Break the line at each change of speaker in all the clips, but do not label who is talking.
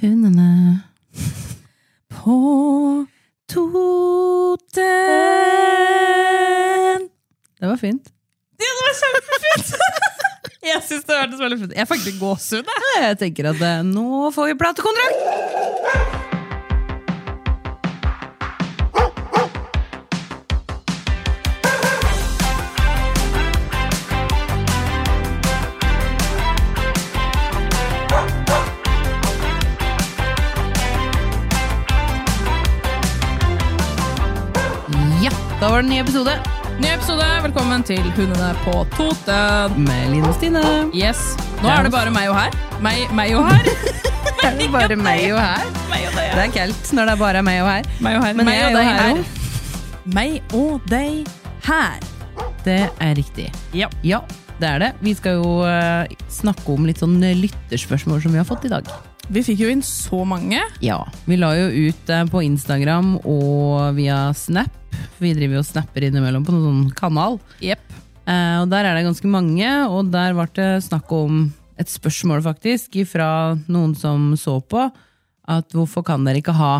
Hundene på Toten. Det var fint. Ja, det var kjempefint! Jeg synes det hørtes veldig fint. Jeg fikk litt gåsehud. jeg. Jeg tenker at eh, nå får vi platekontrakt! Ja, da var det en ny episode
Ny episode. Velkommen til Hundene på Toten.
med Line og Stine.
Yes. Nå er det bare meg og her. Meg, meg og her.
Det er bare meg og her. Det er kaldt når det er bare meg og her.
Meg og her.
Men
meg
jeg
og
er
deg
jo her
her. Meg og deg her.
Det er riktig.
Ja.
Ja, det er det. Vi skal jo eh, snakke om litt sånn lytterspørsmål som vi har fått i dag.
Vi fikk jo inn så mange.
Ja, vi la jo ut eh, på Instagram og via Snap. Vi driver jo og snapper innimellom på noen sånn kanal.
Jepp.
Eh, og der er det ganske mange, og der ble det snakk om et spørsmål faktisk fra noen som så på, at hvorfor kan dere ikke ha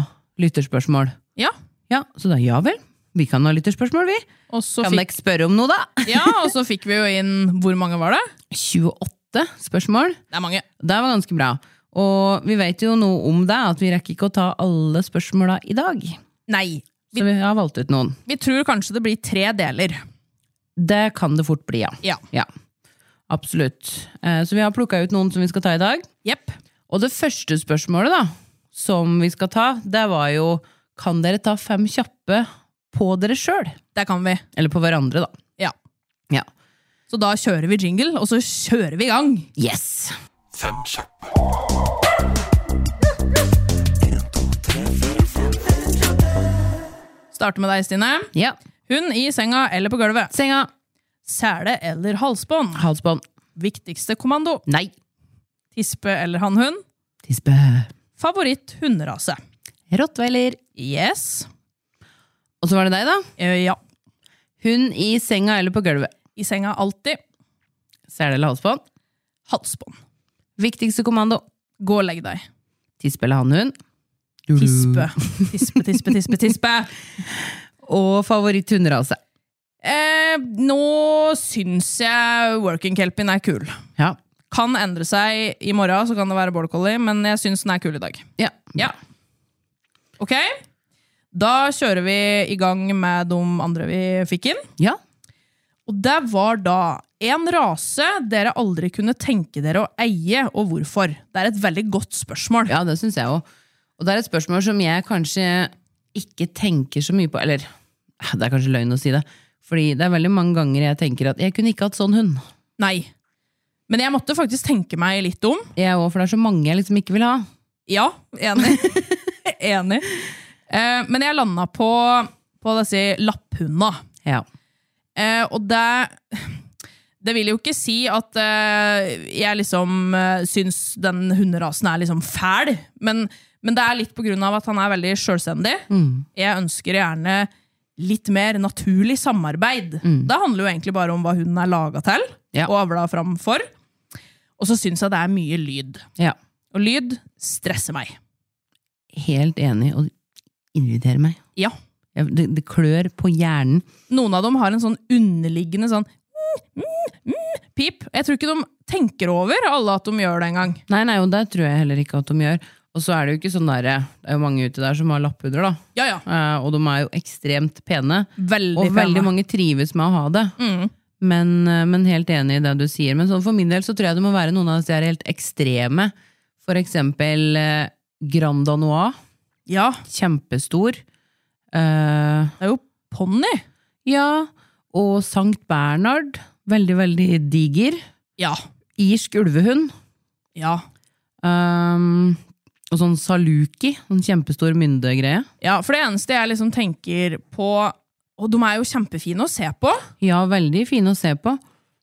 lytterspørsmål?
Ja.
Ja, så da ja vel, vi kan ha lytterspørsmål vi.
Og så
Kan dere
fikk,
ikke spørre om noe da?
ja, og så fikk vi jo inn Hvor mange var det?
28 spørsmål.
Det er mange.
Det var ganske bra. Og vi vet jo noe om det, at vi rekker ikke å ta alle spørsmåla i dag.
Nei.
Så vi har valgt ut noen.
Vi tror kanskje det blir tre deler.
Det kan det fort bli, ja.
Ja.
Absolutt. Eh, Så vi har plukka ut noen som vi skal ta i dag.
Jepp.
Og det første spørsmålet da, som vi skal ta, det var jo Kan dere ta fem kjappe på dere sjøl?
Det kan vi.
Eller på hverandre, da.
Ja.
Ja.
Så da kjører vi jingle, og så kjører vi i gang.
Yes!
Fem kjappe.
Starter med deg, Stine.
Ja.
Hund i senga eller på gulvet.
Senga.
Sele eller halsbånd.
Halsbånd.
Viktigste kommando.
Nei.
Tispe eller hannhund.
Tispe.
Favoritt hunderase.
Rottweiler.
Yes.
Og så var det deg, da.
Eh, ja.
Hund i senga eller på gulvet.
I senga alltid.
Sele eller halsbånd.
Halsbånd.
Viktigste kommando.
Gå og legg deg.
Tispe eller hannhund.
Tispe. Tispe, tispe, tispe, tispe.
Og favoritthunderase.
Eh, nå syns jeg working kelpien er kul.
Ja.
Kan endre seg i morgen, så kan det være border collie, men jeg syns den er kul i dag.
ja.
Ja. Ok. Da kjører vi i gang med de andre vi fikk inn.
Ja.
Og det var da en rase dere aldri kunne tenke dere å eie, og hvorfor? Det er et veldig godt spørsmål.
Ja, det syns jeg òg. Og det er et spørsmål som jeg kanskje ikke tenker så mye på. Eller eh, det er kanskje løgn å si det. Fordi det er veldig mange ganger jeg tenker at jeg kunne ikke hatt sånn hund.
Nei. Men jeg måtte faktisk tenke meg litt om.
Jeg òg, for det er så mange jeg liksom ikke vil ha.
Ja, enig. enig. Eh, men jeg landa på, på disse lapphunda.
Ja.
Eh, og det Det vil jo ikke si at eh, jeg liksom eh, syns den hunderasen er liksom fæl, men, men det er litt på grunn av at han er veldig sjølstendig. Jeg ønsker gjerne litt mer naturlig samarbeid. Det handler jo egentlig bare om hva hunden er laga til
Ja.
og avla fram for. Og så syns jeg det er mye lyd.
ja.
Og lyd stresser meg.
Helt enig. Og irriterer meg.
Ja.
Jeg, det, det klør på hjernen.
Noen av dem har en sånn underliggende sånn mm, mm, mm, pip. Jeg tror ikke de tenker over alle at de gjør det engang.
Nei, nei, og det tror jeg heller ikke at de gjør. Og så er det jo ikke sånn derre Det er jo mange ute der som har lapphunder, da.
Ja, ja.
Eh, og de er jo ekstremt pene.
Veldig
Og veldig
pene.
mange trives med å ha det.
Mm.
Men, eh, men helt enig i det du sier. Men sånn for min del så tror jeg det må være noen av disse her helt ekstreme. For eksempel eh, Grand Danois.
Ja,
Kjempestor. Eh,
det er jo ponni.
ja. Og Sankt Bernhard. Veldig, veldig diger.
Ja.
Irsk ulvehund.
Ja.
Um, Og sånn saluki, sånn kjempestor myndegreie.
Ja, For det eneste jeg liksom tenker på Og de er jo kjempefine å se på,
Ja, veldig fine å se på.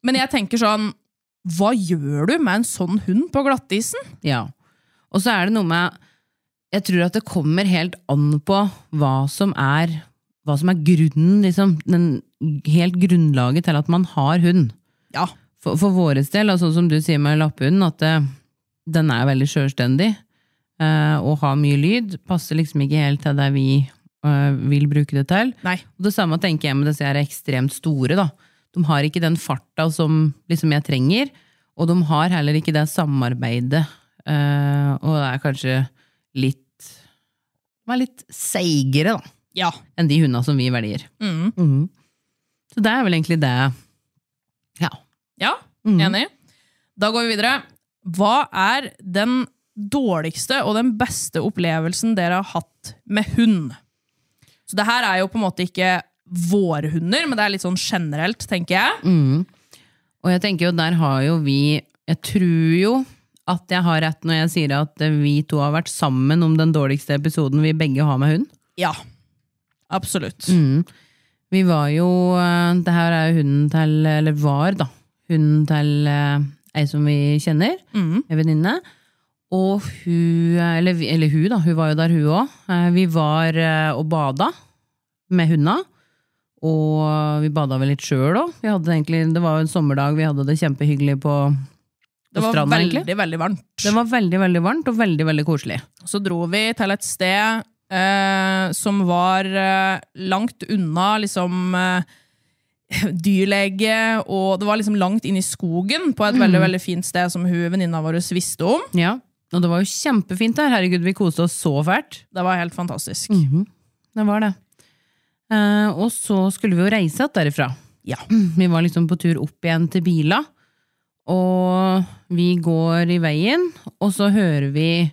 men jeg tenker sånn Hva gjør du med en sånn hund på glattisen?
Ja. Og så er det noe med Jeg tror at det kommer helt an på hva som er hva som er grunnen, liksom. Den, helt grunnlaget til at man har hund.
Ja.
For, for våres del, altså, som du sier med lapphunden, at eh, den er veldig sjølstendig eh, og har mye lyd. Passer liksom ikke helt til det vi eh, vil bruke det til.
Nei.
Og det samme tenker jeg med disse her ekstremt store. da. De har ikke den farta som liksom, jeg trenger, og de har heller ikke det samarbeidet. Eh, og det er kanskje litt De er litt seigere da,
Ja.
enn de hundene som vi velger.
Mm.
Mhm. Så det er vel egentlig det. Ja.
Ja,
Mhm.
Enig. Da går vi videre. Hva er den dårligste og den beste opplevelsen dere har hatt med hund? Så det her er jo på en måte ikke våre hunder, men det er litt sånn generelt, tenker jeg.
Mhm. Og jeg tenker jo, der har jo vi Jeg tror jo at jeg har rett når jeg sier at eh, vi to har vært sammen om den dårligste episoden vi begge har med hund.
Ja. Absolutt.
Mm. Vi var jo eh, Det her er jo hunden til Eller var, da. Hunden til eh, ei som vi kjenner.
Mhm.
En venninne. Og hun eh, eller, vi- eller hun, da. Hun var jo der, hun òg. Vi var eh, og bada med hundene. Og vi bada vel litt sjøl òg. Det var jo en sommerdag, vi hadde det kjempehyggelig på, på
Det var
stranda.
veldig,
egentlig.
veldig varmt.
Det var veldig veldig varmt og veldig veldig koselig.
Så dro vi til et sted eh, som var eh, langt unna liksom eh, dyrlege, og det var liksom langt inn i skogen på et
Mm.
veldig, veldig fint sted som hun venninna vår visste om.
Ja, Og det var jo kjempefint der. Herregud, vi koste oss så fælt.
Det var helt fantastisk.
Mhm. Det var det. Eh, og så skulle vi jo reise igjen derifra.
Ja.
Vi var liksom på tur opp igjen til bila, og vi går i veien, og så hører vi,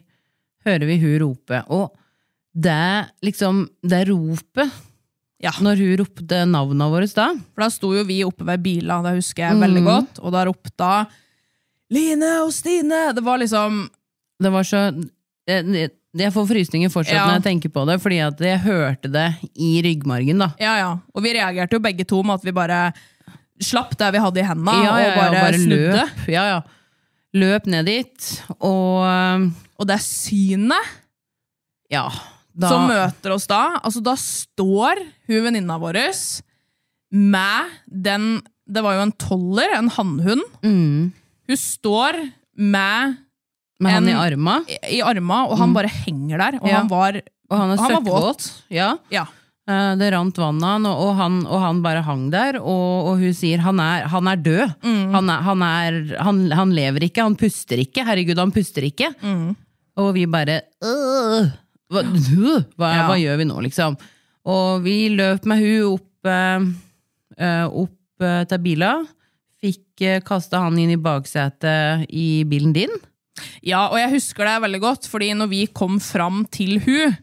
hører vi hun rope. Og det liksom, det ropet,
Ja.
når hun ropte navnet vårt da,
For da sto jo vi oppe ved bila, det husker jeg
Mm.
veldig godt, og da ropte hun Line og Stine! Det var liksom
det var så jeg, jeg får frysninger fortsatt
Ja.
når jeg tenker på det, fordi at jeg hørte det i ryggmargen, da.
Ja, ja. Og vi reagerte jo begge to med at vi bare slapp det vi hadde i henda,
Ja, ja,
Ah, og bare, snudde.
løp. Ja, ja. Løp ned dit, og eh,
Og det synet
ja da,
som møter oss da. Altså, da står hun venninna vår med den Det var jo en toller, en hannhund.
mm,
Hun står med
Med han
en-
i arma,
i arma, og han bare henger der. Og
Mm. Ja.
han var
og han er
han var våt.
søkkvåt. Ja.
Ja.
Eh, Det rant vann av han, og, og, han, og han bare hang der. Og, og hun sier han er, han er død.
Mm.
Han, er, han, er, han, han lever ikke, han puster ikke. Herregud, han puster ikke.
Mm.
Og vi bare «Øh, hva, øh, hva,
Ja.
hva gjør vi nå, liksom? Og vi løp med hun opp, eh, eh, opp eh, til bila. Fikk uh, kasta han inn i baksetet i bilen din.
Ja, og jeg husker det veldig godt, fordi når vi kom fram til hun,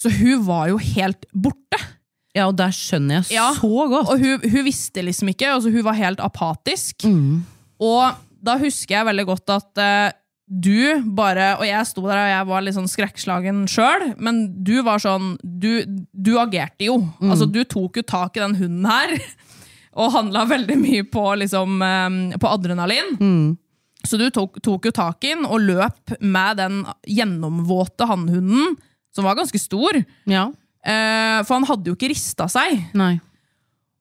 så hun var jo helt borte.
Ja, og der skjønner jeg
Ja.
så godt.
Og hun, hun visste liksom ikke, altså hun var helt apatisk.
Mm.
Og da husker jeg veldig godt at eh, du bare, og jeg sto der og jeg var litt sånn skrekkslagen sjøl, men du var sånn Du, du agerte jo.
Mm.
Altså, du tok jo tak i den hunden her. Og handla veldig mye på, liksom, eh, på adrenalin.
Mm.
Så du tok, tok jo tak i den og løp med den gjennomvåte hannhunden, som var ganske stor.
Ja,
Eh, for han hadde jo ikke rista seg.
nei.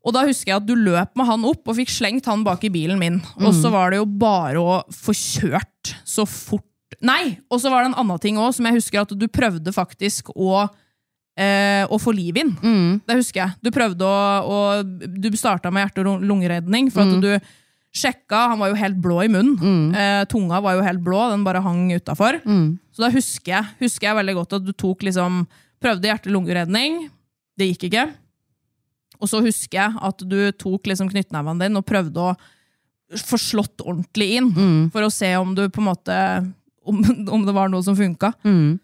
Og da husker jeg at du løp med han opp og fikk slengt han bak i bilen min. Og så var det jo bare å få kjørt så fort Nei! Og så var det en annen ting òg, som jeg husker at du prøvde faktisk å Eh, å få liv inn. Det husker jeg. Du prøvde å, å Du starta med hjerte- og lungeredning, for at du sjekka Han var jo helt blå i munnen. Eh, tunga var jo helt blå, den bare hang utafor. Så da husker jeg, husker jeg veldig godt at du tok liksom Prøvde hjerte-lungeredning. Det gikk ikke. Og så husker jeg at du tok liksom knyttneven din og prøvde å få slått ordentlig inn, for å se om du på en måte Om, om det var noe som funka.
Mm.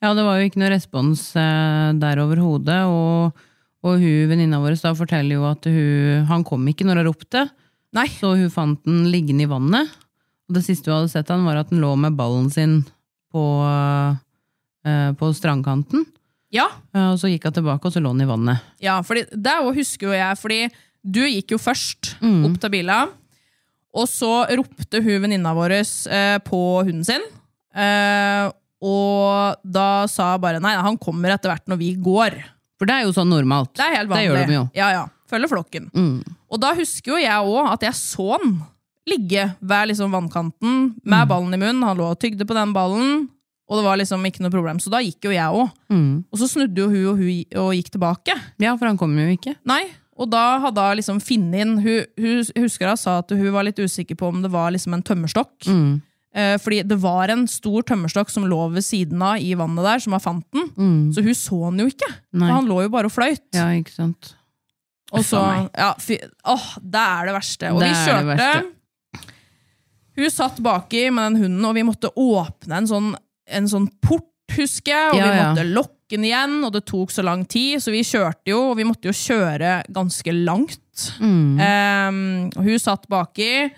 Ja, det var jo ikke noe respons eh, der overhodet, og, og hun, venninna vår da forteller jo at hun, han kom ikke når hun ropte,
Nei.
så hun fant den liggende i vannet, og det siste hun hadde sett han var at den lå med ballen sin på, eh, på strandkanten.
Ja,
Eh, Og så gikk hun tilbake, og så lå hun i vannet.
ja fordi det også husker jo jeg, fordi du gikk jo først opp til bila, og så ropte hun venninna vår eh, på hunden sin, eh, og da sa jeg bare, nei, han kommer etter hvert når vi går.
For det er jo sånn normalt.
Det er helt vanlig.
gjør de jo. Mm.
Ja, ja. Følger flokken. Og da husker jo jeg òg at jeg så han ligge ved liksom vannkanten
Mm.
med ballen i munnen. Han lå og tygde på den ballen, og det var liksom ikke noe problem. Så da gikk jo jeg òg.
Mm.
Og så snudde jo hun og hun og gikk tilbake.
Ja, for han kommer jo ikke.
Nei. Og da hadde hun liksom funnet inn Hun, hun husker hun sa at hun var litt usikker på om det var liksom en tømmerstokk.
Mm.
Eh, fordi det var en stor tømmerstokk som lå ved siden av i vannet der, som hun fant den. Så hun så han jo ikke.
Mm. Nei.
For han lå jo bare og fløyt.
Ja, ikke sant.
Og så,
Faen meg.
ja, fy, åh, det er det verste. Og
Det
vi
er det
kjørte Hun satt baki med den hunden, og vi måtte åpne en sånn, en sånn port, husker jeg. Og
Ja,
vi
ja.
måtte lokke den igjen, og det tok så lang tid. Så vi kjørte jo, og vi måtte jo kjøre ganske langt.
Mm.
Eh, og hun satt baki.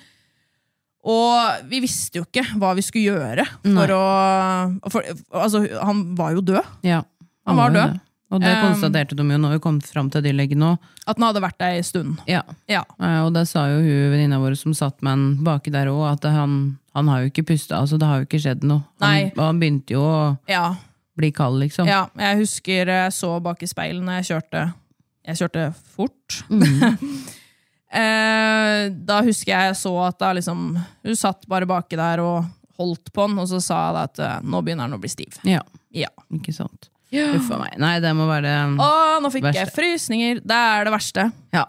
Og vi visste jo ikke hva vi skulle gjøre. For å, for, altså, han var jo død.
Ja.
Han var
jo
død.
det. Og det
Um,
konstaterte de jo når vi kom fram til dyrlegen nå.
At han hadde vært der en stund.
Ja.
Ja.
Eh, Og det sa jo hun venninna vår som satt med han baki der òg, at han, han har jo ikke pusta, altså det har jo ikke skjedd noe. Han,
Nei.
og han begynte jo å
ja.
bli kald, liksom.
Ja, jeg husker jeg så bak i speilet når jeg kjørte. Jeg kjørte fort.
Mm.
Eh, da husker jeg jeg så at da liksom, hun satt bare baki der og holdt på den, og så sa jeg da at eh, nå begynner den å bli stiv.
Ja,
Ja.
ikke sant. Uff a meg. Nei, det må være
Å, nå fikk jeg
Verste.
frysninger! Det er det verste.
Ja,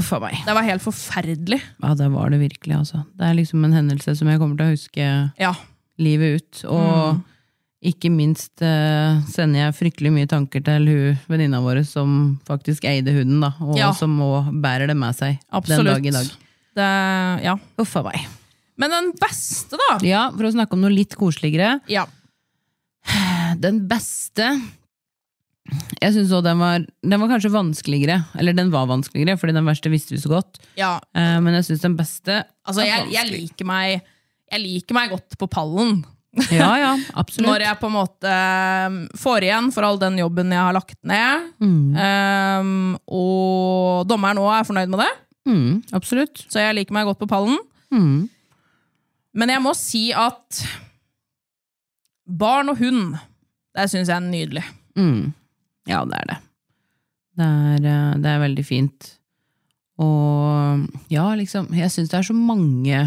uff a meg.
Det var helt forferdelig.
Ja, det var det virkelig, altså. Det er liksom en hendelse som jeg kommer til å huske
Ja.
livet ut. Og ikke minst eh, sender jeg fryktelig mye tanker til hun venninna vår som faktisk eide hunden, da, og
Ja.
som også bærer det med seg den
Absolutt.
dag i dag.
Det, ja.
Uff a meg.
Men den beste, da!
Ja, for å snakke om noe litt koseligere.
Ja.
Den beste Jeg syns òg den var Den var kanskje vanskeligere. Eller den var vanskeligere, fordi den verste visste vi så godt.
ja.
Eh, Men jeg syns den beste
Altså, jeg, jeg, liker meg, jeg liker meg godt på pallen.
Ja, ja, absolutt.
Når jeg på en måte um, får igjen for all den jobben jeg har lagt ned.
Mm.
Um, og dommeren òg er fornøyd med det,
Mm, absolutt.
så jeg liker meg godt på pallen.
Mm.
Men jeg må si at barn og hund, det syns jeg er nydelig.
Mm. Ja, det er det. Det er, eh, det er veldig fint. Og ja, liksom Jeg syns det er så mange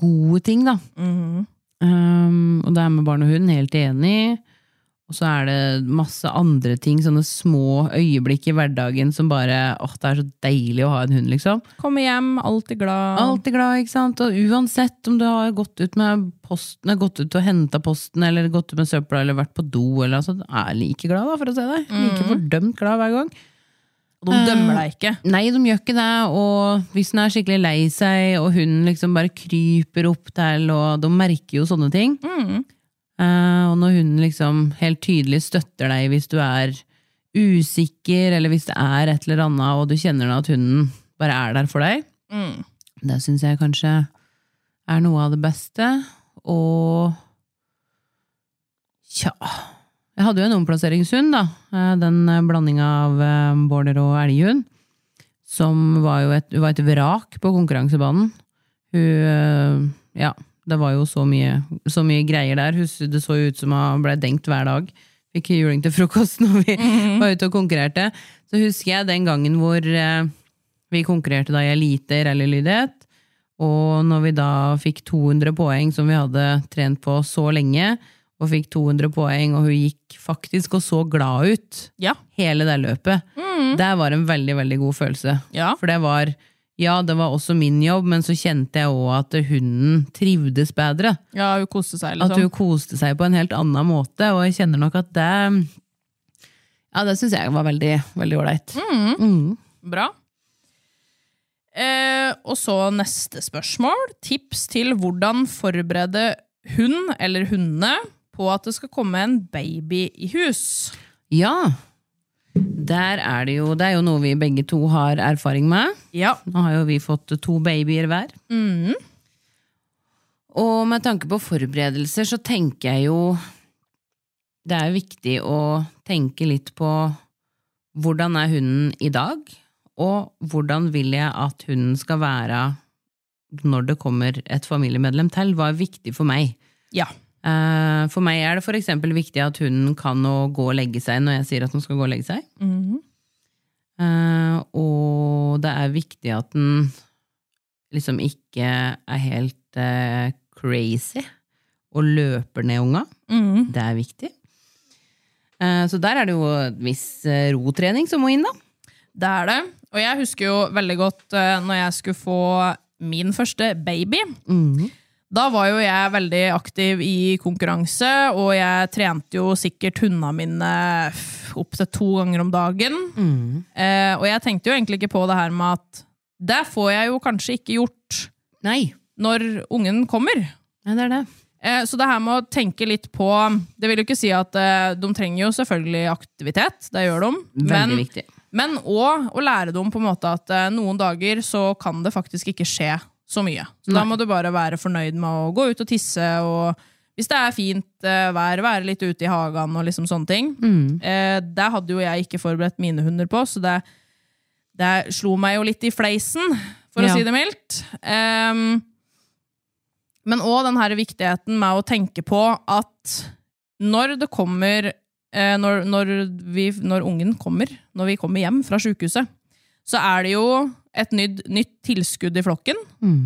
gode ting, da.
Mhm.
Um, og det er med barn og hund, helt enig. Og så er det masse andre ting, sånne små øyeblikk i hverdagen som bare åh, det er så deilig å ha en hund, liksom.
Komme hjem, alltid glad.
Alltid glad, ikke sant? Og uansett om du har gått ut med posten, har gått ut og henta posten, eller gått ut med søpla, eller vært på do, eller altså, du er like glad, da, for å si det. Like fordømt glad hver gang.
Og de
Eh.
dømmer deg ikke.
Nei, de gjør ikke det, og hvis den er skikkelig lei seg, og hunden liksom bare kryper opp til, og de merker jo sånne ting. Eh, og når hunden liksom helt tydelig støtter deg hvis du er usikker, eller hvis det er et eller annet, og du kjenner at hunden bare er der for deg, det syns jeg kanskje er noe av det beste. Og tja Jeg hadde jo en omplasseringshund, da. Eh, Den eh, blandinga av eh, border og elghund. Som var jo et, var et vrak på konkurransebanen. Hun eh, Ja, det var jo så mye, så mye greier der. Hun, s- det så jo ut som hun ble denkt hver dag. Fikk juling til frokost når vi var ute og konkurrerte. Så husker jeg den gangen hvor eh, vi konkurrerte da i elite i rallylydighet. Og når vi da fikk 200 poeng, som vi hadde trent på så lenge, og fikk 200 poeng, og hun gikk faktisk og så glad ut
Ja.
hele det løpet, det var en veldig, veldig god følelse.
Ja.
For det var ja, det var også min jobb, men så kjente jeg òg at hunden trivdes bedre.
ja, hun koste seg,
At hun
liksom.
koste seg på en helt annen måte, og jeg kjenner nok at det Ja, det syns jeg var veldig veldig ålreit.
Bra. Eh, og så neste spørsmål. Tips til hvordan forberede hund eller hundene på at det skal komme en baby i hus.
Ja. Der er det jo Det er jo noe vi begge to har erfaring med.
Ja.
Nå har jo vi fått to babyer hver. Og med tanke på forberedelser så tenker jeg jo Det er jo viktig å tenke litt på hvordan er hunden i dag, og hvordan vil jeg at hunden skal være når det kommer et familiemedlem til? Hva er viktig for meg?
Ja.
Eh, For meg er det for eksempel viktig at hunden kan å gå og legge seg når jeg sier at den skal gå og legge seg. Eh, og det er viktig at den liksom ikke er helt eh, crazy og løper ned unga. Det er viktig. Eh, så der er det jo en viss eh, rotrening som må inn, da.
Det er det. Og jeg husker jo veldig godt eh, når jeg skulle få min første baby.
Mhm.
Da var jo jeg veldig aktiv i konkurranse, og jeg trente jo sikkert hundene mine opptil to ganger om dagen.
Mm.
Eh, og jeg tenkte jo egentlig ikke på det her med at det får jeg jo kanskje ikke gjort
Nei.
når ungen kommer.
Nei, det er det.
Eh, Så det her med å tenke litt på Det vil jo ikke si at eh, de trenger jo selvfølgelig aktivitet. Det gjør de.
Veldig
men-
viktig.
Men òg å lære dem på en måte at eh, noen dager så kan det faktisk ikke skje så mye. Så da må du bare være fornøyd med å gå ut og tisse, og hvis det er fint eh, vær, være litt ute i hagen og liksom sånne ting. Eh, det hadde jo jeg ikke forberedt mine hunder på, så det, det slo meg jo litt i fleisen, for
Ja.
å si det mildt. Ehm, men òg den her viktigheten med å tenke på at når det kommer eh, når, når, vi, når ungen kommer, når vi kommer hjem fra sykehuset, så er det jo et nytt, nytt tilskudd i flokken.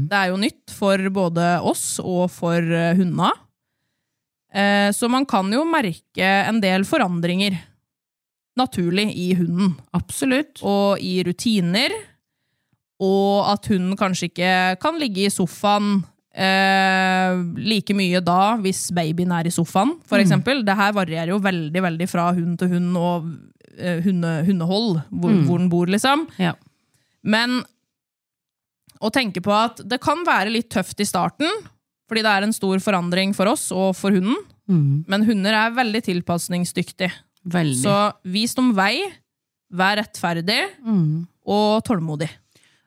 Det er jo nytt for både oss og for eh, hundene. Eh, så man kan jo merke en del forandringer naturlig i hunden. Absolutt. Og i rutiner. Og at hunden kanskje ikke kan ligge i sofaen eh, like mye da hvis babyen er i sofaen,
Mm.
for eksempel. Det her varierer jo veldig, veldig fra hund til hund og eh, hunde, hundehold, hvor,
Mm.
hvor den bor, liksom.
Ja.
Men å tenke på at det kan være litt tøft i starten, fordi det er en stor forandring for oss og for hunden. Men hunder er veldig tilpasningsdyktige.
Mhm. Veldig.
Så vis dem vei, vær rettferdig
Mhm.
og tålmodig.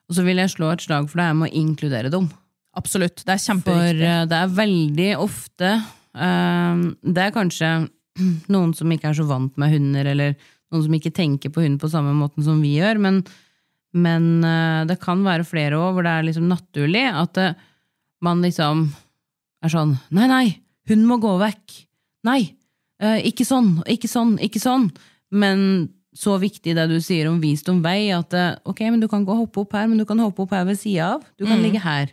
Og så vil jeg slå et slag for det her med å inkludere dem.
Absolutt. Det er
For
kjempeviktig.
eh, det er veldig ofte eh, Det er kanskje noen som ikke er så vant med hunder, eller noen som ikke tenker på hund på samme måten som vi gjør, men, men eh, det kan være flere òg hvor det er liksom naturlig at eh, man liksom er sånn Nei, nei, hun må gå vekk. Nei, eh, ikke sånn, ikke sånn, ikke sånn. Men så viktig det du sier om visdom vei, at eh, ok, men du kan gå og hoppe opp her, men du kan hoppe opp her ved sida av. Du kan ligge her.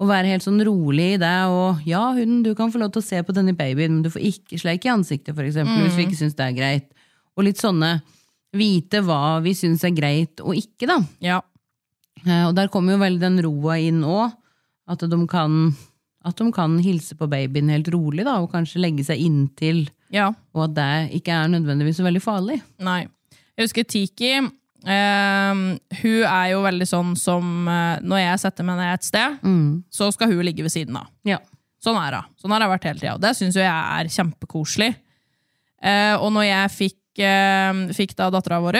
Og være helt sånn rolig i det, og ja, hunden, du kan få lov til å se på denne babyen, men du får ikke sleike i ansiktet, for eksempel, hvis vi ikke syns det er greit. Og litt sånne vite hva vi syns er greit og ikke, da.
Ja.
Eh, Og der kommer jo veldig den roa inn òg. At de, kan, at de kan hilse på babyen helt rolig, da, og kanskje legge seg inntil.
ja.
Og at det ikke er nødvendigvis så veldig farlig.
Nei. Jeg husker Tiki. eh, hun er jo veldig sånn som eh, Når jeg setter meg ned et sted, så skal hun ligge ved siden av.
Ja.
Sånn er det. Sånn har det vært hele tida. Og det syns jo jeg er kjempekoselig. Eh, og når jeg fikk, eh, fikk da dattera vår,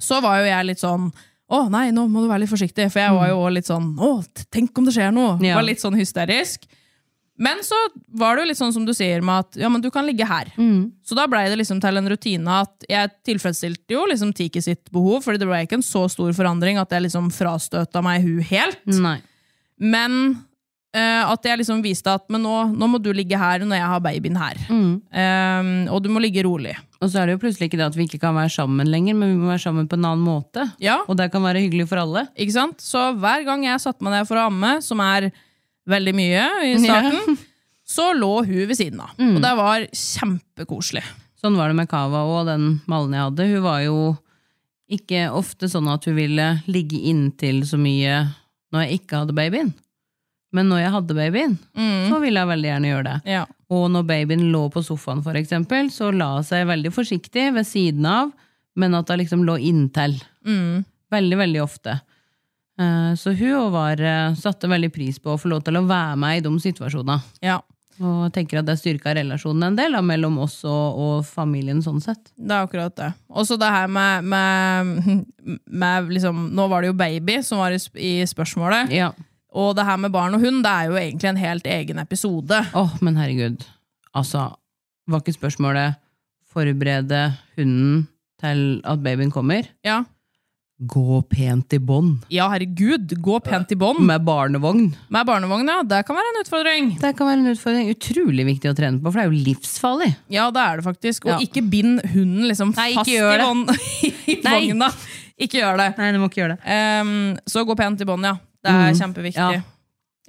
så var jo jeg litt sånn å nei, nå må du være litt forsiktig, for jeg var jo også litt sånn Å, t- tenk om det skjer noe!
Ja.
Var litt sånn hysterisk. Men så var det jo litt sånn som du sier, med at ja, men du kan ligge her. Så da blei det liksom til en rutine at jeg tilfredsstilte jo liksom Tiki sitt behov, fordi det blei ikke en så stor forandring at jeg liksom frastøta meg hun helt.
Nei.
Men eh, at jeg liksom viste at men nå, nå må du ligge her når jeg har babyen her. Eh, og du må ligge rolig.
Og så er det jo plutselig ikke det at vi ikke kan være sammen lenger, men vi må være sammen på en annen måte.
Ja.
Og det kan være hyggelig for alle.
Ikke sant? Så hver gang jeg satte meg ned for å amme, som er veldig mye i starten, så lå hun ved siden av. Og det var kjempekoselig.
Sånn var det med Kava og den mallen jeg hadde. Hun var jo ikke ofte sånn at hun ville ligge inntil så mye når jeg ikke hadde babyen. Men når jeg hadde babyen, så ville jeg veldig gjerne gjøre det.
Ja.
Og når babyen lå på sofaen, for eksempel, så la hun seg veldig forsiktig ved siden av, men at hun liksom lå inntil.
Mm.
Veldig, veldig ofte. Eh, Så hun også var, eh, satte veldig pris på å få lov til å være med i de situasjonene.
ja.
Og jeg tenker at det styrka relasjonen en del da, mellom oss og, og familien sånn sett.
Det er akkurat det. Og så det her med, med, med liksom, Nå var det jo baby som var i, sp- i spørsmålet.
Ja.
Og det her med barn og hund det er jo egentlig en helt egen episode.
Åh, men herregud. Altså, var ikke spørsmålet forberede hunden til at babyen kommer?
Ja,
Gå pent i bånd
ja herregud, gå pent i bånd
Mm. med barnevogn.
med barnevogn, ja. Det kan være en utfordring.
Det kan være en utfordring. Utrolig viktig å trene på, for det er jo livsfarlig.
Ja, det er det faktisk. Og
Ja.
ikke bind hunden liksom
Nei, ikke
fast i,
gjør det.
vogn, i
Nei.
vogna. Ikke gjør det.
Nei, du må ikke gjøre det.
Ehm, så gå pent i bånd, ja. Det er kjempeviktig.
Mm. Ja.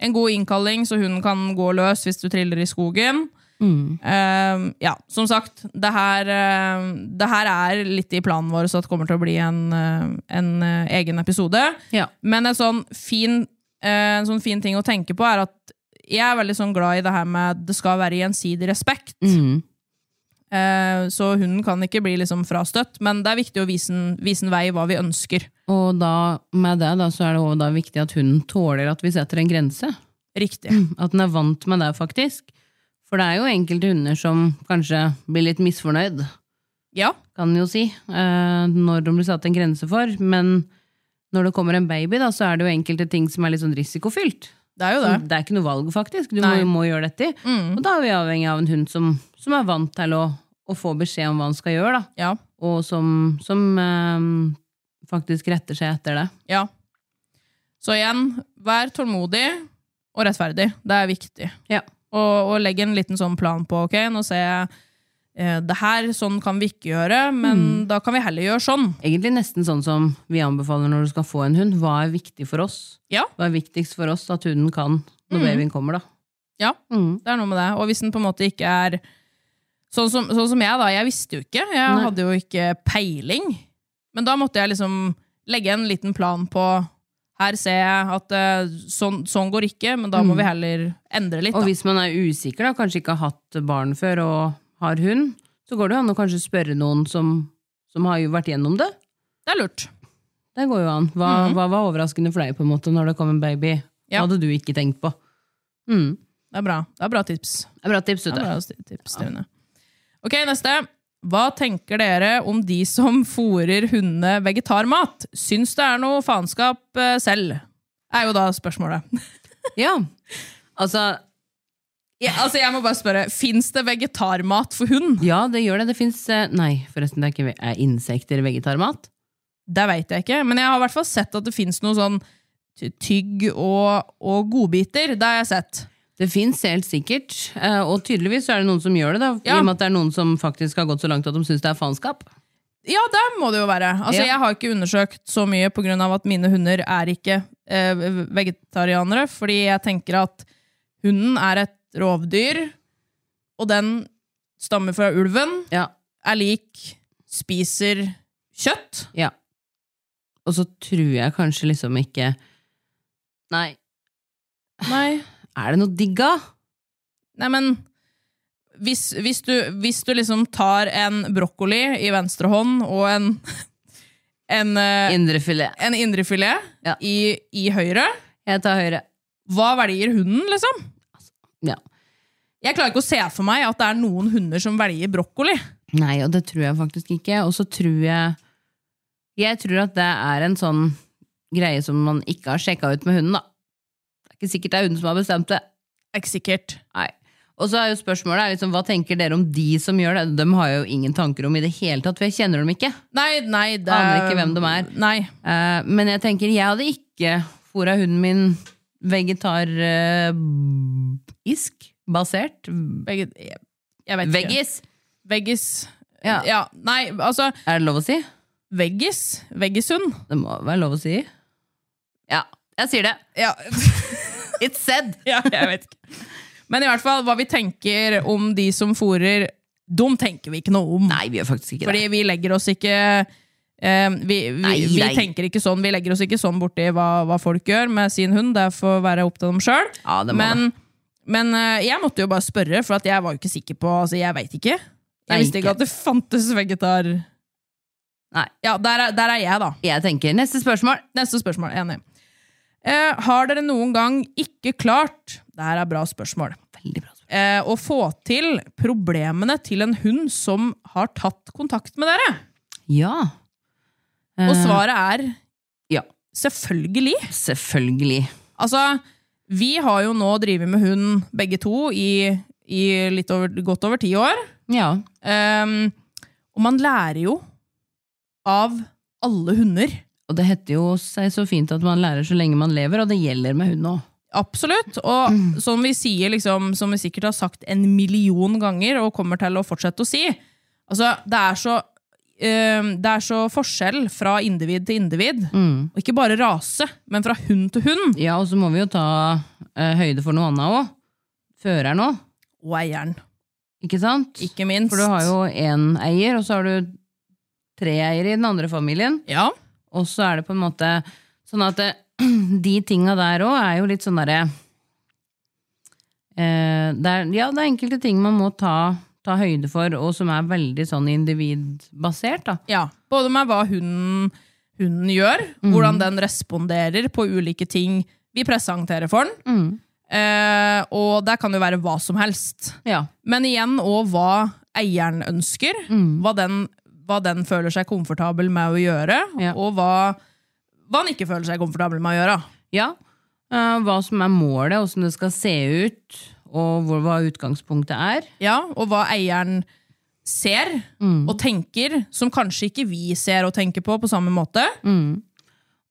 En god innkalling, så hunden kan gå løs hvis du triller i skogen.
Mm.
Ehm, ja, som sagt, det her, ehm, det her er litt i planen vår, så det kommer til å bli en, eh, en eh, egen episode.
Ja.
Men en sånn, fin, eh, en sånn fin ting å tenke på er at jeg er veldig sånn glad i det her med at det skal være gjensidig respekt.
Mm.
Eh, så hunden kan ikke bli liksom frastøtt, men det er viktig å vise en, vise en vei hva vi ønsker.
Og da, med det, da, så er det også da viktig at hunden tåler at vi setter en grense.
Riktig.
At den er vant med det, faktisk. For det er jo enkelte hunder som kanskje blir litt misfornøyd,
Ja.
kan en jo si, eh, når de blir satt en grense for. Men når det kommer en baby, da, så er det jo enkelte ting som er litt sånn risikofylt.
Det er jo det.
Som- Det er ikke noe valg, faktisk. Du
Nei. Mm.
må, må gjøre dette. Og da er vi avhengig av en hund som, som er vant til å, å få beskjed om hva han skal gjøre, da.
Ja.
og som, som eh, faktisk retter seg etter det.
ja. Så igjen, vær tålmodig og rettferdig. Det er viktig.
Ja.
Og, og legg en liten sånn plan på, ok, nå ser jeg eh, det her, sånn kan vi ikke gjøre, men
Mm.
da kan vi heller gjøre sånn.
Egentlig nesten sånn som vi anbefaler når du skal få en hund. Hva er viktig for oss?
Ja.
Hva er viktigst for oss at hunden kan
Mm.
når babyen kommer, da?
Ja.
Mm.
Det er noe med det. Og hvis den på en måte ikke er Sånn som, sånn som jeg, da. Jeg visste jo ikke. Jeg
Nei.
hadde jo ikke peiling. Men da måtte jeg liksom legge en liten plan på her ser jeg at eh, sånn, sånn går ikke, men da må vi heller endre litt.
Og
Da.
hvis man er usikker, da, kanskje ikke har hatt barn før og har hund, så går det jo an å kanskje spørre noen som, som har jo vært gjennom det.
Det er lurt.
Det går jo an. Hva, hva var overraskende for deg på en måte når det kom en baby?
Mhm. Ja.
Hva hadde du ikke tenkt på? Mm.
Det er bra. Det er bra tips.
Det er bra tips,
Det
vet
er
du.
bra sti- tips Trine. Ok, neste. Hva tenker dere om de som fôrer hundene vegetarmat? Syns det er noe faenskap eh, selv? Er jo da spørsmålet.
Ja. Altså,
Ja, altså jeg må bare spørre, Fins det vegetarmat for hund?
ja, det gjør det. Det fins Nei, forresten, det er ikke ve- er insekter vegetarmat.
Det veit jeg ikke, men jeg har i hvert fall sett at det fins noe sånn ty- tygg og, og godbiter. Det har jeg sett.
Det fins helt sikkert, eh, og tydeligvis så er det noen som gjør det, da,
Ja.
i og med at det er noen som faktisk har gått så langt at de syns det er faenskap.
Ja, det må det jo være. Altså
Ja.
Jeg har ikke undersøkt så mye pga. at mine hunder er ikke eh, vegetarianere, fordi jeg tenker at hunden er et rovdyr, og den stammer fra ulven,
Ja.
er lik spiser kjøtt.
ja. Og så tror jeg kanskje liksom ikke Nei,
Nei,
er det noe digga?
Nei, men hvis, hvis, du, hvis du liksom tar en brokkoli i venstre hånd og en, en, eh,
Indrefilet.
en indrefilet
Ja.
i, i høyre,
Jeg tar høyre.
hva velger hunden, liksom?
Ja.
Jeg klarer ikke å se for meg at det er noen hunder som velger brokkoli.
Nei, og det tror jeg faktisk ikke. Og så tror jeg Jeg tror at det er en sånn greie som man ikke har sjekka ut med hunden, da. Det er ikke sikkert det er hunden som har bestemt det.
Det er Ikke sikkert.
Nei. Og så er jo spørsmålet er liksom, hva tenker dere om de som gjør det? De har jeg jo ingen tanker om i det hele tatt, for jeg kjenner dem ikke.
Nei, nei, det
Aner ikke hvem de er.
Nei.
Eh, men jeg tenker, jeg hadde ikke fôra hunden min vegetarisk basert.
Begge, jeg, jeg vet ikke.
Veggis!
Veggis.
Ja.
ja. Nei, altså,
Er det lov å si?
veggis. Veggishund.
Det må være lov å si. Ja, jeg sier det.
Ja.
It's said!
Ja, jeg vet ikke. Men i hvert fall, hva vi tenker om de som fôrer, dem tenker vi ikke noe om.
Nei, vi gjør faktisk ikke
Fordi vi legger oss ikke eh, vi, vi,
Nei,
vi
nei.
tenker ikke sånn Vi legger oss ikke sånn borti hva, hva folk gjør med sin hund. Det får være opp til dem sjøl.
det. Ja, det må det.
Men, men eh, jeg måtte jo bare spørre, for at jeg var jo ikke sikker på altså, Jeg veit ikke.
Nei,
Jeg visste
ikke.
ikke at det fantes vegetar...
Nei.
Ja, der er, der er jeg, da.
Jeg tenker, neste spørsmål.
Neste spørsmål. Enig. Eh, har dere noen gang ikke klart Det her er bra spørsmål
Veldig bra spørsmål.
eh, å få til problemene til en hund som har tatt kontakt med dere?
Ja.
Og svaret er
Ja,
selvfølgelig.
selvfølgelig.
Altså, vi har jo nå drevet med hund begge to i, i litt over, godt over ti år.
Ja.
Ehm, og man lærer jo av alle hunder.
Og det heter jo seg så fint at man lærer så lenge man lever, og det gjelder med hund òg.
Absolutt. Og
Mm.
som vi sier, liksom, som vi sikkert har sagt en million ganger, og kommer til å fortsette å si altså, det, er så, eh, det er så forskjell fra individ til individ.
Mm.
Og ikke bare rase, men fra hund til hund.
Ja, og så må vi jo ta eh, høyde for noe annet òg. Føreren òg,
Og eieren,
ikke sant?
ikke minst.
For du har jo én eier, og så har du tre eiere i den andre familien.
Ja,
Og så er det på en måte sånn at det, de tinga der òg er jo litt sånn derre eh, det er- Ja, det er enkelte ting man må ta, ta høyde for, og som er veldig sånn individbasert, da.
ja. Både med hva hunden, hunden gjør,
Mm.
hvordan den responderer på ulike ting vi presenterer for den.
Mm.
Eh, og der kan det jo være hva som helst.
Ja.
Men igjen òg hva eieren ønsker.
Mm.
Hva, den, hva den føler seg komfortabel med å gjøre,
Ja.
og hva, hva han ikke føler seg komfortabel med å gjøre.
ja. Eh, hva som er målet, åssen det skal se ut, og hvor, hva utgangspunktet er.
Ja, og hva eieren ser
Mm.
og tenker, som kanskje ikke vi ser og tenker på på samme måte.
Mm.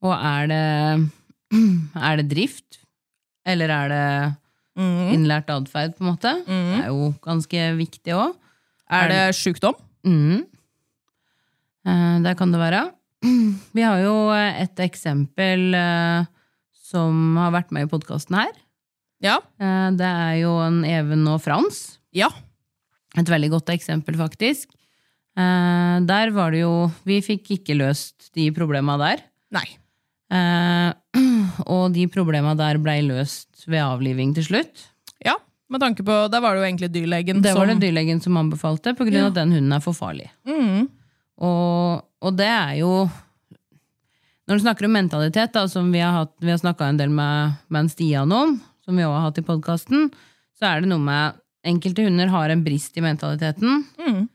Og er det, er det drift? Eller er det innlært atferd, på en måte? Det er jo ganske viktig òg.
Er det sjukdom?
Mm. Eh, der kan det være. Vi har jo eh, et eksempel eh, som har vært med i podkasten her.
Ja.
Eh, det er jo en Even og Frans.
ja.
Et veldig godt eksempel, faktisk. Eh, der var det jo Vi fikk ikke løst de problema der.
Nei.
Eh, og de problema der blei løst ved avliving til slutt.
Ja, med tanke på Der var det jo egentlig dyrlegen
Det
som
var det Mm. dyrlegen som anbefalte, på grunn av at den hunden er for farlig. Og, og det er jo Når du snakker om mentalitet, da, som vi har, hatt- vi har snakka en del med, med en Stian om, som vi òg har hatt i podkasten, så er det noe med Enkelte hunder har en brist i mentaliteten,
Mm.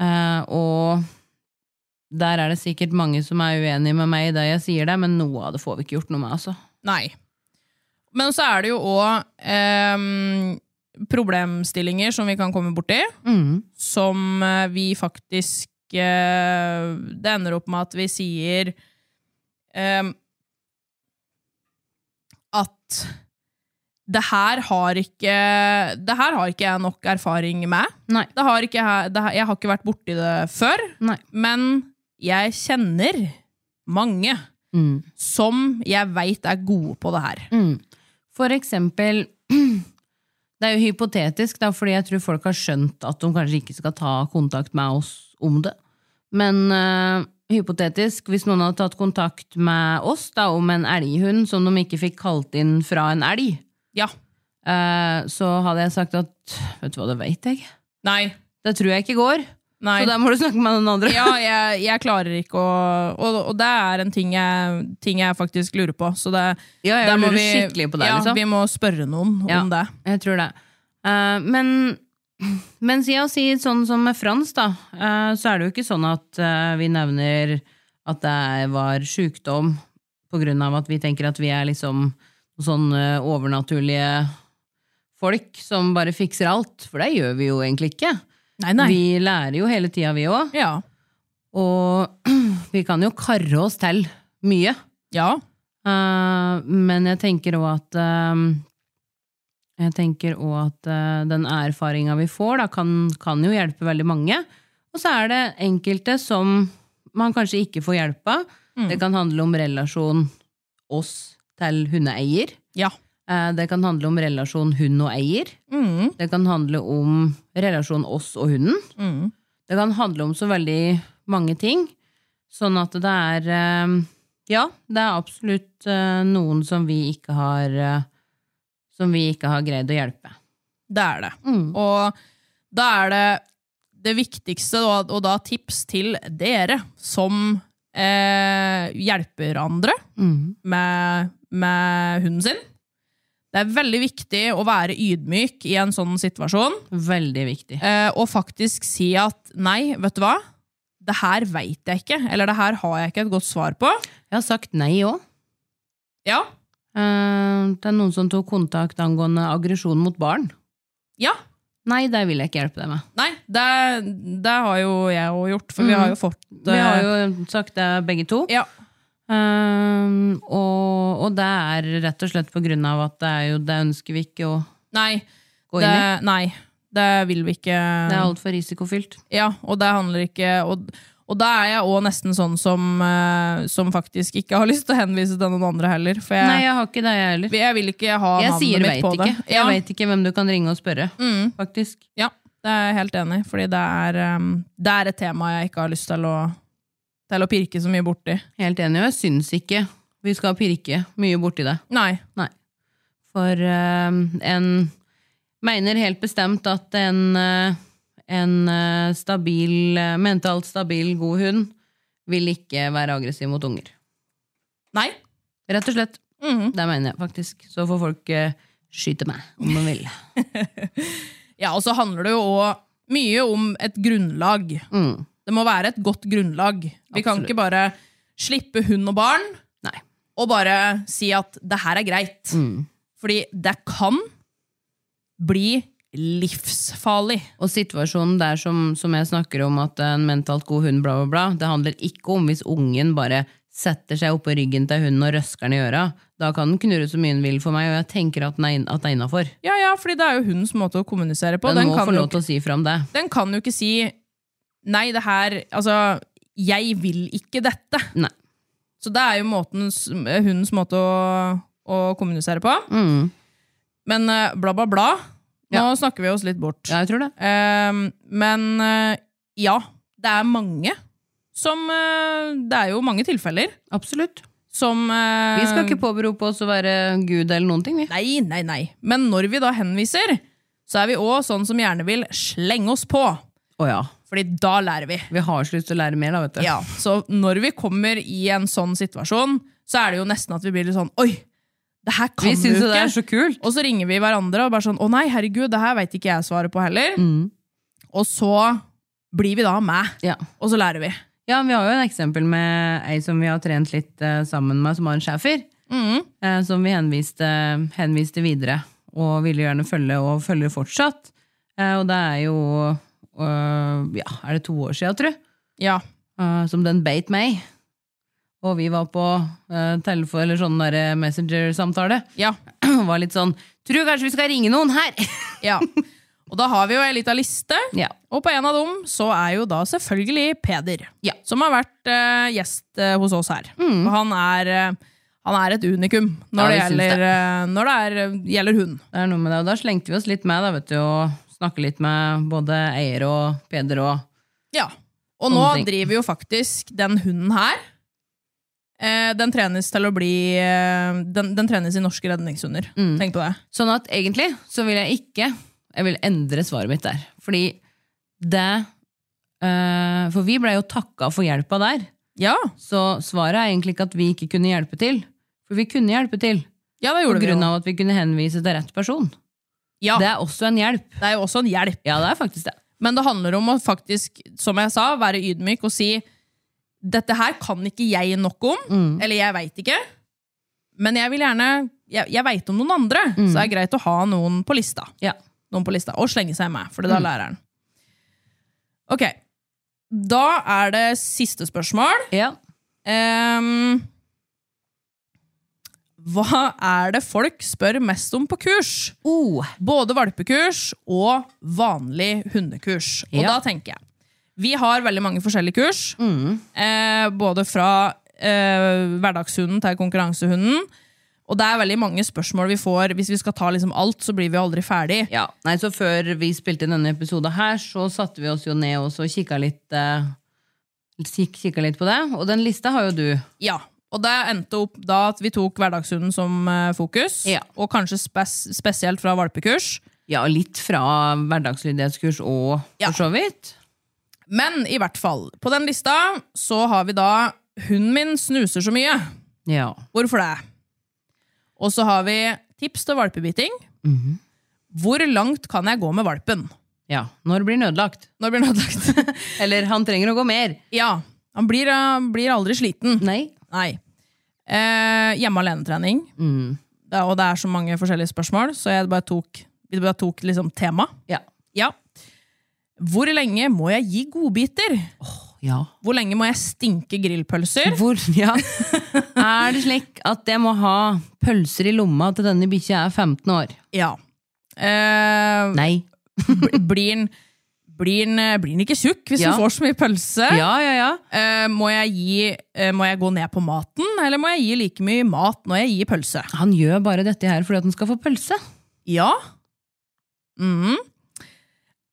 eh, og der er det sikkert mange som er uenige med meg i det jeg sier det, men noe av det får vi ikke gjort noe med, altså.
Nei. Men så er det jo òg problemstillinger som vi kan komme borti.
Mm.
som eh, vi faktisk eh, Det ender opp med at vi sier eh, at det her har ikke Det her har ikke jeg nok erfaring med.
Nei.
Det har ikke, jeg- det, her- jeg har ikke vært borti det før,
Nei.
men jeg kjenner mange
Mm.
som jeg veit er gode på det her.
Mm. For eksempel Det er jo hypotetisk, da, fordi jeg tror folk har skjønt at de kanskje ikke skal ta kontakt med oss om det. Men eh, hypotetisk, hvis noen hadde tatt kontakt med oss da, om en elghund som de ikke fikk kalt inn fra en elg,
Ja.
eh, så hadde jeg sagt at Vet du hva, det veit jeg.
Nei.
Det tror jeg ikke går.
Nei.
Så da må du snakke med noen andre.
Ja, jeg, jeg klarer ikke å Og, og det er en ting jeg, ting jeg faktisk lurer på. Så det,
Ja, jeg
der må
lurer
vi,
skikkelig på det,
ja,
liksom.
vi må spørre noen
Ja.
om det.
Jeg tror det. Eh, men mens jeg sier sånn som med Frans, da, eh, så er det jo ikke sånn at eh, vi nevner at det var sjukdom på grunn av at vi tenker at vi er liksom sånn eh, overnaturlige folk som bare fikser alt. For det gjør vi jo egentlig ikke.
Nei, nei.
Vi lærer jo hele tida, vi òg.
Ja.
Og vi kan jo karre oss til mye.
ja.
Eh, men jeg tenker òg at eh, Jeg tenker òg at eh, den erfaringa vi får, da, kan, kan jo hjelpe veldig mange. Og så er det enkelte som man kanskje ikke får hjelp av. Det kan handle om relasjon oss til hundeeier.
Ja.
Eh, Det kan handle om relasjon hund og eier.
Mm,
Det kan handle om relasjon oss og hunden.
mm.
Det kan handle om så veldig mange ting. Sånn at det er eh, Ja, det er absolutt eh, noen som vi ikke har eh, Som vi ikke har greid å hjelpe.
Det er det.
Mm.
Og da er det det viktigste, og, og da tips til dere som eh, hjelper andre
Mm.
med, med hunden sin. Det er veldig viktig å være ydmyk i en sånn situasjon.
Veldig viktig.
Eh, og faktisk si at nei, vet du hva? Det her veit jeg ikke, eller det her har jeg ikke et godt svar på.
Jeg har sagt nei òg.
Ja,
Eh, det er noen som tok kontakt angående aggresjon mot barn.
Ja,
Nei, det vil jeg ikke hjelpe deg med.
nei, det, det har jo jeg òg gjort, for vi har jo fått
Mm.
eh,
Vi har jo sagt det begge to.
ja,
Eh, og, og det er rett og slett på grunn av at det er jo det ønsker vi ikke å
Nei.
Gå
det,
inn
nei, det vil vi ikke.
Det er altfor risikofylt.
Ja, og det handler ikke Og, og da er jeg òg nesten sånn som, eh, som faktisk ikke har lyst til å henvise til noen andre heller. For jeg,
Nei, jeg har ikke det, jeg heller.
jeg, vil ikke ha
Jeg
navnet
sier
mitt
veit
på
ikke. Mm.
det. Mm.
Jeg vet ikke hvem du kan ringe og spørre, faktisk.
ja, det er jeg helt enig i, fordi det er, eh, det er et tema jeg ikke har lyst til å, til å pirke så mye borti.
Helt enig, og jeg syns ikke vi skal pirke mye borti det.
Nei.
Nei. For eh, en Mener helt bestemt at en, eh, en eh, stabil, eh, mentalt stabil, god hund vil ikke være aggressiv mot unger.
Nei.
Rett og slett. Det mener jeg faktisk. Så får folk eh, skyte meg om de vil.
Ja, og så handler det jo òg mye om et grunnlag.
Mm.
Det må være et godt grunnlag. Vi kan
Absolutt.
ikke bare slippe hund og barn
Nei.
og bare si at det her er greit.
Mm.
Fordi det kan bli livsfarlig.
Og situasjonen der som, som jeg snakker om, at en mentalt god hund, bla, bla, bla, det handler ikke om hvis ungen bare setter seg oppå ryggen til hunden og røsker den i øra. Da kan den knurre så mye den vil for meg, og jeg tenker at den er, inn- at den er innafor.
Ja, ja, fordi det er jo hundens måte å kommunisere på.
Den,
Den,
må
kan,
få
jo,
lov til å si fra om det.
ikke- den kan jo ikke si Nei, det her Altså, jeg vil ikke dette.
Nei.
Så det er jo måtens, hundens måte å, å kommunisere på.
Mm.
Men eh, bla, bla, bla. Nå
Ja.
snakker vi oss litt bort.
Ja, jeg tror det.
Ehm, men eh, ja, det er mange som eh, Det er jo mange tilfeller
Absolutt.
som eh,
Vi skal ikke påberope oss å være gud eller noen ting, vi.
Nei, nei, nei. Men når vi da henviser, så er vi òg sånn som gjerne vil slenge oss på.
Å ja.
Fordi da lærer vi.
Vi har så lyst til å lære mer, da, vet du.
Ja, Så når vi kommer i en sånn situasjon, så er det jo nesten at vi blir litt sånn Oi! Det her kan
Vi
du
syns jo
ikke!
det er så kult.
Og så ringer vi hverandre og bare sånn Å nei, herregud, det her veit ikke jeg svaret på heller.
Mm.
Og så blir vi da med,
Ja.
og så lærer vi.
Ja, vi har jo en eksempel med ei som vi har trent litt eh, sammen med, som har en schæfer.
Mm.
Eh, som vi henviste, henviste videre, og ville gjerne følge, og følger fortsatt. Eh, og det er jo øh, Ja, er det to år sia, tror jeg,
Ja.
eh, som den beit meg. Og vi var på eh, telefon eller sånn der Messenger-samtale.
Ja.
var litt sånn 'Tror kanskje vi skal ringe noen her?'
ja. Og da har vi jo ei lita liste,
ja.
og på en av dem så er jo da selvfølgelig Peder.
Ja. Mm.
Som har vært eh, gjest eh, hos oss her. Og han er, eh, han er et unikum
Ja,
når det,
vi syns
gjelder,
det.
eh, når det er, eh, gjelder hund.
Det er noe med det, og da slengte vi oss litt med, da, vet du, og snakket litt med både eier og Peder og
Ja. Og nå
Sånne ting.
driver jo faktisk den hunden her eh, Den trenes til å bli eh, den, den trenes i norske redningshunder. Tenk på det.
Sånn at egentlig så vil jeg ikke Jeg vil endre svaret mitt der. Fordi det eh, For vi blei jo takka for hjelpa der.
Ja,
Så svaret er egentlig ikke at vi ikke kunne hjelpe til. For vi kunne hjelpe til.
ja det
På
gjorde vi
grunn
jo.
av at vi kunne henvise til rett person.
Ja,
Det
det,
er også en hjelp.
er jo også en hjelp.
Ja, det er faktisk det.
Men det handler om å faktisk, som jeg sa, være ydmyk og si dette her kan ikke jeg nok om, eller jeg veit ikke. Men jeg vil gjerne Jeg, jeg veit om noen andre, så det er greit å ha noen på lista.
Ja.
Noen på lista, Og slenge seg med, for det da lærer han. Ok. Da er det siste spørsmål.
ja.
Ehm, hva er det folk spør mest om på kurs?
Oh,
Både valpekurs og vanlig hundekurs. Og
Ja.
da tenker jeg Vi har veldig mange forskjellige kurs.
Mm.
Eh, både fra eh, hverdagshunden til konkurransehunden. Og det er veldig mange spørsmål vi får. Hvis vi skal ta liksom alt, så blir vi aldri ferdig.
ja. Nei, så før vi spilte inn denne episoden her, så satte vi oss jo ned og så kikka litt, eh, kik- kikka litt på det. Og den lista har jo du.
Ja, og det endte opp da at vi tok hverdagshunden som eh, fokus.
Ja.
Og kanskje spes spesielt fra valpekurs.
Ja, litt fra hverdagslydighetskurs og
Ja.
for så vidt.
Men i hvert fall, på den lista så har vi da 'Hunden min snuser så mye'.
Ja.
Hvorfor det? Og så har vi tips til valpebiting.
Mhm.
Hvor langt kan jeg gå med valpen?
ja. Når blir den ødelagt?
Når blir den ødelagt?
Eller han trenger å gå mer.
ja, han blir, han blir aldri sliten.
Nei.
Nei. Eh, hjemme alene-trening.
Mm.
Det er- Og det er så mange forskjellige spørsmål, så jeg bare tok, vi bare tok liksom tema.
Ja.
Ja. Hvor lenge må jeg gi godbiter?
ja.
Hvor lenge må jeg stinke grillpølser?
Hvor, ja. Er det slik at jeg må ha pølser i lomma til denne bikkja er 15 år?
Ja. Eh,
Nei.
bl- blir den blir den, eh, blir den ikke tjukk hvis
Ja.
den får så mye pølse?
Ja, ja, ja.
Eh, må, jeg gi, eh, må jeg gå ned på maten, eller må jeg gi like mye mat når jeg gir pølse?
Han gjør bare dette her fordi at han skal få pølse.
Ja. Mm.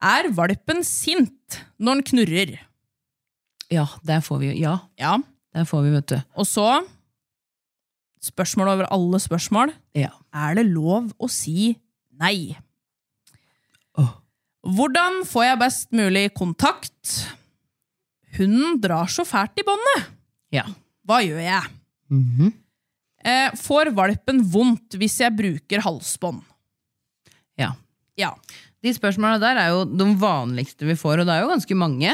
Er valpen sint når den knurrer?
Ja, der får vi, jo- ja,
Ja.
der får vi vet du.
Og så Spørsmål over alle spørsmål.
Ja.
Er det lov å si nei? Hvordan får jeg best mulig kontakt? Hunden drar så fælt i båndet.
Ja.
Hva gjør jeg?
Mhm.
Eh, får valpen vondt hvis jeg bruker halsbånd?
ja.
Ja.
De spørsmålene der er jo de vanligste vi får, og det er jo ganske mange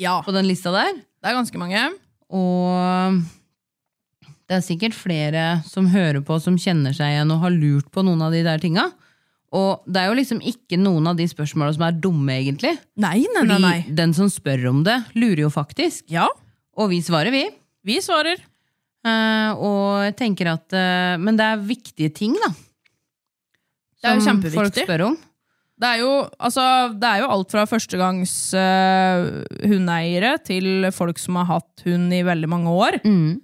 Ja,
på den lista der.
det er ganske mange.
Og det er sikkert flere som hører på, som kjenner seg igjen og har lurt på noen av de der tinga. Og det er jo liksom ikke noen av de spørsmåla som er dumme, egentlig.
Nei, nei,
Fordi
nei, nei.
den som spør om det, lurer jo faktisk.
Ja,
Og vi svarer, vi.
vi svarer.
Eh, og jeg tenker at eh, Men det er viktige ting, da.
Det er jo
som
kjempeviktig.
folk spør om.
Det er jo, altså, det er jo alt fra førstegangs eh, hundeeiere til folk som har hatt hund i veldig mange år.
Mm.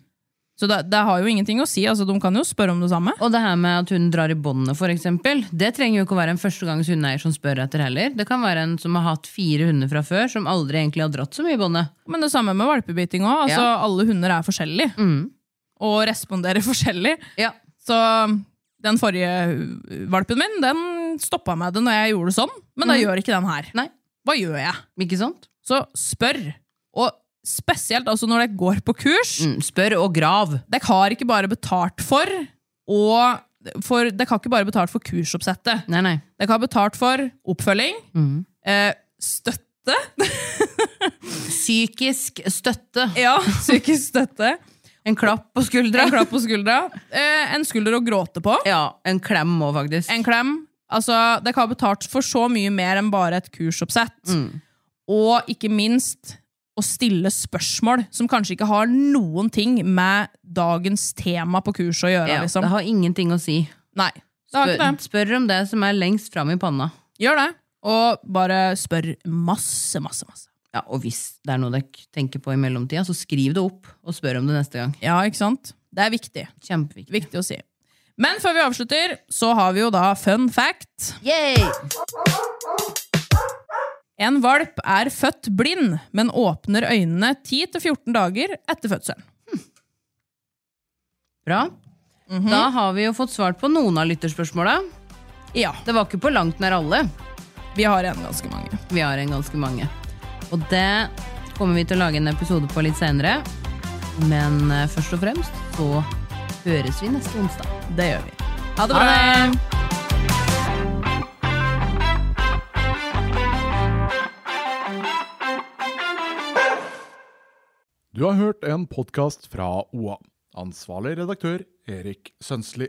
Så det, det har jo ingenting å si. Altså, de kan jo spørre om det samme.
Og det her med at hun drar i båndet, for eksempel, det trenger jo ikke å være en førstegangs hundeeier som spør etter heller. Det kan være en som har hatt fire hunder fra før, som aldri egentlig har dratt så mye i båndet.
Men det samme med valpebiting òg. Altså,
Ja. Mm.
Alle hunder er forskjellige og responderer forskjellig.
Ja.
Så den forrige valpen min den stoppa meg det når jeg gjorde det sånn, men det gjør ikke den her.
Mm. Nei.
Hva gjør jeg?
Ikke sant?
Så spør. Og spesielt altså når dere går på kurs.
Mm, spør og grav.
Dere har ikke bare betalt for og for, Dere har ikke bare betalt for kursoppsettet.
Nei, Mm. nei.
Dere har betalt for oppfølging, eh, støtte
Psykisk støtte.
Ja, psykisk støtte.
En klapp på skuldra.
En klapp på skuldra. Eh, en skulder å gråte på.
Ja, en klem òg, faktisk.
En klem. Altså, dere har betalt for så mye mer enn bare et kursoppsett.
Mm.
Og ikke minst å stille spørsmål som kanskje ikke har noen ting med dagens tema på kurset å gjøre.
ja,
liksom.
Det har ingenting å si.
Nei, det har ikke
Spør,
det.
spør om det som er lengst fram i panna.
Gjør det. Og bare spør masse, masse, masse.
Ja, Og hvis det er noe dere tenker på i mellomtida, så skriv det opp og spør om det neste gang.
Ja, ikke sant? Det er viktig.
Kjempeviktig.
Viktig å si. Men før vi avslutter, så har vi jo da fun fact. En valp er født blind, men åpner øynene 10-14 dager etter fødselen.
Bra. Da har vi jo fått svart på noen av lytterspørsmåla.
Ja,
Det var ikke på langt nær alle.
vi har igjen ganske mange.
Vi har en ganske mange. Og det kommer vi til å lage en episode på litt seinere. Men eh, først og fremst så høres vi neste onsdag.
Det gjør vi. Ha det bra!
Eh,
Ha
Du har hørt en podkast fra OA. Ansvarlig redaktør Erik Sønsli.